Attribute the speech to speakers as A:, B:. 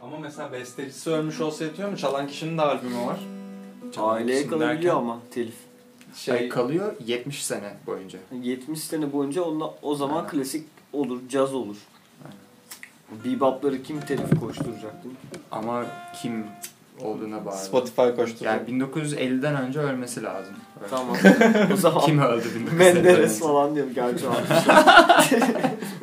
A: Ama mesela bestecisi ölmüş olsa yetiyor mu? Çalan kişinin de albümü var.
B: Çalan
C: Aileye
B: kişinin
C: kalabiliyor
B: derken,
C: ama telif.
B: Ay,
A: Şey,
B: kalıyor 70 sene boyunca.
C: 70 sene boyunca onla, o zaman
B: Aynen.
C: klasik olur, caz olur. Bebop'ları kim telif koşturacak değil mi?
B: Ama kim olduğuna bağlı.
A: Spotify koşturuyor.
B: Yani 1950'den önce ölmesi lazım.
C: Tamam. o zaman
B: Kim öldü 1950'den
C: Menderes
B: önce?
C: falan diyor gerçi abi.